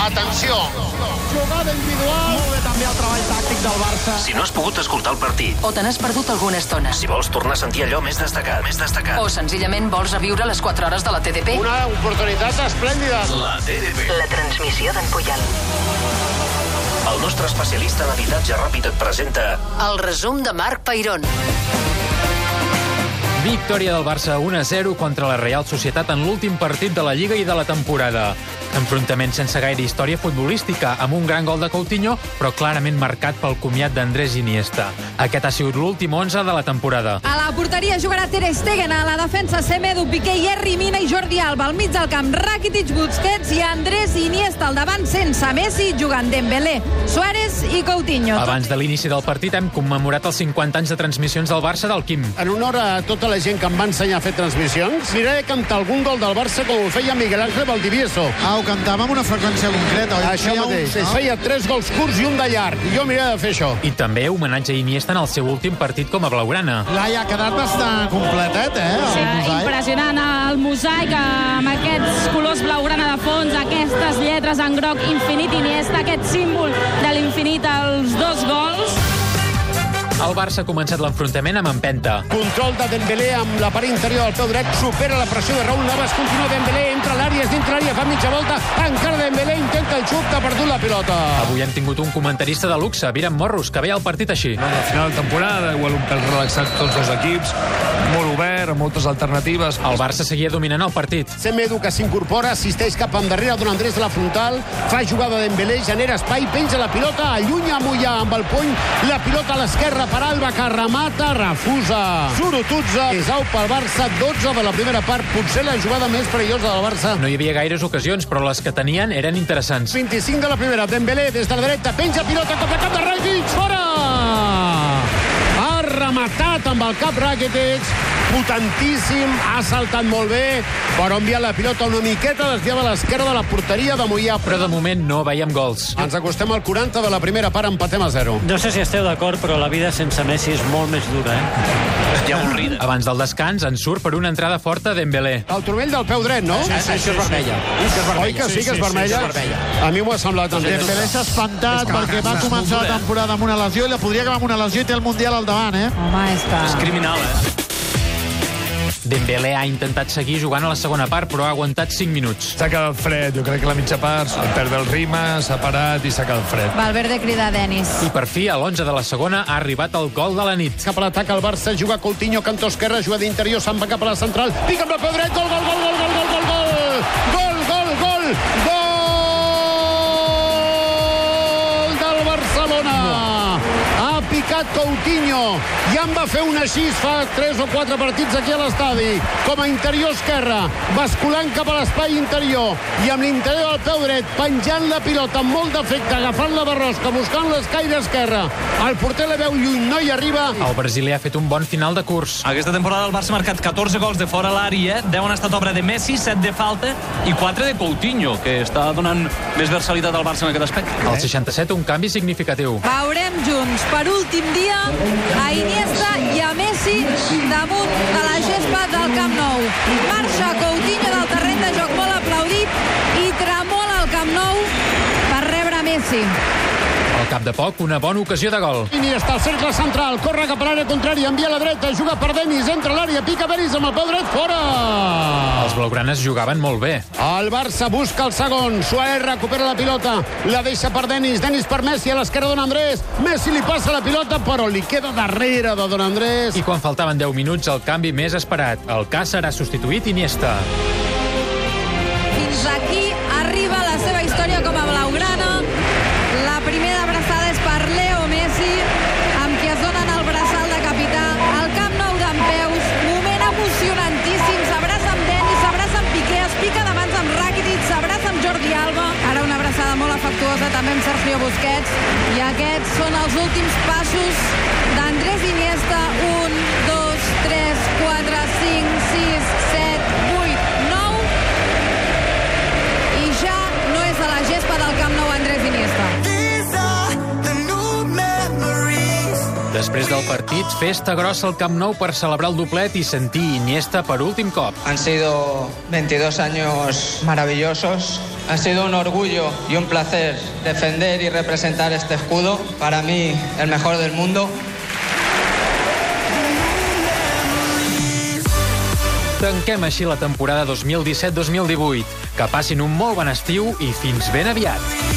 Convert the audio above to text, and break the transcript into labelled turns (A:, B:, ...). A: Atenció!
B: Jugada individual. Molt bé també el treball tàctic del Barça.
C: Si no has pogut escoltar el partit,
D: o te n'has perdut alguna estona,
C: si vols tornar a sentir allò més destacat, més destacat,
D: o senzillament vols reviure les 4 hores de la TDP,
A: Una oportunitat esplèndida.
C: la TDP.
D: la transmissió d'en Puyol.
C: El nostre especialista en habitatge ràpid et presenta
D: El resum de Marc Peirón.
E: Victòria del Barça 1-0 contra la Real Societat en l'últim partit de la Lliga i de la temporada. Enfrontament sense gaire història futbolística, amb un gran gol de Coutinho, però clarament marcat pel comiat d'Andrés Iniesta. Aquest ha sigut l'últim 11 de la temporada.
F: A la porteria jugarà Ter Stegen, a la defensa Semedo, Piqué, Jerry Mina i Jordi Alba. Al mig del camp, Rakitic, Busquets i Andrés Iniesta al davant, sense Messi, jugant Dembélé, Suárez i Coutinho.
E: Abans de l'inici del partit hem commemorat els 50 anys de transmissions del Barça del Quim.
A: En honor a tota la gent que em va ensenyar a fer transmissions, miraré a cantar algun gol del Barça com ho feia Miguel Ángel Valdivieso.
B: Ah, ho cantava amb una freqüència concreta. Oi?
A: Això
B: Hi ha un-
A: mateix. Es
B: no?
A: feia tres gols curts i un de llarg. I jo miraré de fer això.
E: I també homenatge a Iniesta en el seu últim partit com a blaugrana.
B: Laia, ha quedat bastant completet, eh? el mosaic.
G: Impressionant el mosaic amb aquests colors blaugrana de fons, aquestes lletres en groc infinit Iniesta, aquest símbol de l'infinit als dos gols.
E: El Barça ha començat l'enfrontament amb empenta.
A: Control de Dembélé amb la part interior del peu dret, supera la pressió de Raúl Navas, continua Dembélé, entra a l'àrea, és dintre l'àrea, fa mitja volta, encara Dembélé, intenta el xut, ha perdut la pilota.
E: Avui hem tingut un comentarista de luxe, Viran Morros, que veia el partit així.
H: Al final de temporada, igual un pèl relaxat tots els equips, molt obert, amb moltes alternatives.
E: El Barça seguia dominant el partit.
A: Semedo que s'incorpora, assisteix cap endarrere d'un Andrés de la frontal, fa jugada Dembélé, genera espai, penja la pilota, allunya Mollà amb el puny, la pilota a l'esquerra per Alba, que remata, refusa. Surututza, és au pel Barça, 12 de la primera part, potser la jugada més perillosa del Barça.
E: No hi havia gaires ocasions, però les que tenien eren interessants.
A: 25 de la primera, Dembélé des de la dreta, penja pilota cap a cap de Rakitic, fora! Ha rematat amb el cap Rakitic, potentíssim, ha saltat molt bé, però envia la pilota una miqueta desviava a l'esquerra de la porteria de Mollà.
E: Però de moment no veiem gols.
A: Ens acostem al 40 de la primera part, empatem a 0.
I: No sé si esteu d'acord, però la vida sense Messi és molt més dura, eh?
C: Hòstia avorrida.
E: Abans del descans ens surt per una entrada forta Dembélé.
A: El turmell del peu dret, no? Sí, sí, això és vermella. Oi que sí que és vermella? A mi m'ho ha semblat doncs. també.
B: Dembélé s'ha espantat perquè va començar la temporada amb una lesió i la podria acabar amb una lesió i té el Mundial al davant, eh?
F: Home, és que...
I: Criminal, eh?
E: Dembélé ha intentat seguir jugant a la segona part, però ha aguantat 5 minuts.
H: S'ha quedat fred, jo crec que la mitja part el perd el ritme, s'ha parat i s'ha quedat fred.
F: Valverde crida a Denis.
E: I per fi, a l'11 de la segona, ha arribat el gol de la nit.
A: Cap a l'atac, el Barça juga Coutinho, cantó esquerra, juga d'interior, se'n va cap a la central, pica amb el peu dret, gol, gol, gol, gol, gol, gol, gol, gol, gol, gol, gol del Barcelona. Ha picat Coutinho i en va fer una així fa 3 o 4 partits aquí a l'estadi. Com a interior esquerra, basculant cap a l'espai interior i amb l'interior del peu dret, penjant la pilota amb molt d'efecte, agafant la barrosca, buscant l'escaire esquerra. El porter la veu lluny, no hi arriba.
E: El brasiler ha fet un bon final de curs.
I: Aquesta temporada el Barça ha marcat 14 gols de fora a l'àrea, 10 han estat obra de Messi, 7 de falta i 4 de Coutinho, que està donant més versalitat al Barça en aquest aspecte.
E: Al 67, un canvi significatiu.
F: Veurem junts per últim dia a Iniesta i a Messi damunt de la gespa del Camp Nou. Marxa Coutinho del terreny de joc molt aplaudit i tremola el Camp Nou per rebre Messi.
E: Al cap de poc, una bona ocasió de gol.
A: Iniesta, al cercle central, corre cap a l'àrea contrària, envia a la dreta, juga per Denis, entra a l'àrea, pica Denis amb el peu dret, fora!
E: Els blaugranes jugaven molt bé.
A: El Barça busca el segon. Suárez recupera la pilota. La deixa per Denis. Denis per Messi a l'esquerra d'on Andrés. Messi li passa la pilota, però li queda darrere de don Andrés.
E: I quan faltaven 10 minuts, el canvi més esperat. El cas serà substituït Iniesta.
F: Fins aquí arriba la seva història com a blaugrana. La primera abraçada és per Leo Messi, amb qui es donen el braçal de capità al Camp Nou d'en Peus. Moment emocionantíssim. S'abraça amb Denis, s'abraça amb Piqué, es pica de mans amb Rakitic, s'abraça amb Jordi Alba. Ara una abraçada molt afectuosa també amb Sergio Busquets. I aquests són els últims passos d'Andrés Iniesta. Un, dos, tres, quatre, cinc, sis, set, vuit, nou i ja no és a la gespa del Camp Nou Andrés Iniesta.
E: Després del partit, festa grossa al Camp Nou per celebrar el doblet i sentir Iniesta per últim cop.
J: Han sido 22 años maravillosos Ha sido un orgullo y un placer defender y representar este escudo. Para mí, el mejor del mundo.
E: Tanquem així la temporada 2017-2018. Que passin un molt bon estiu i fins ben aviat.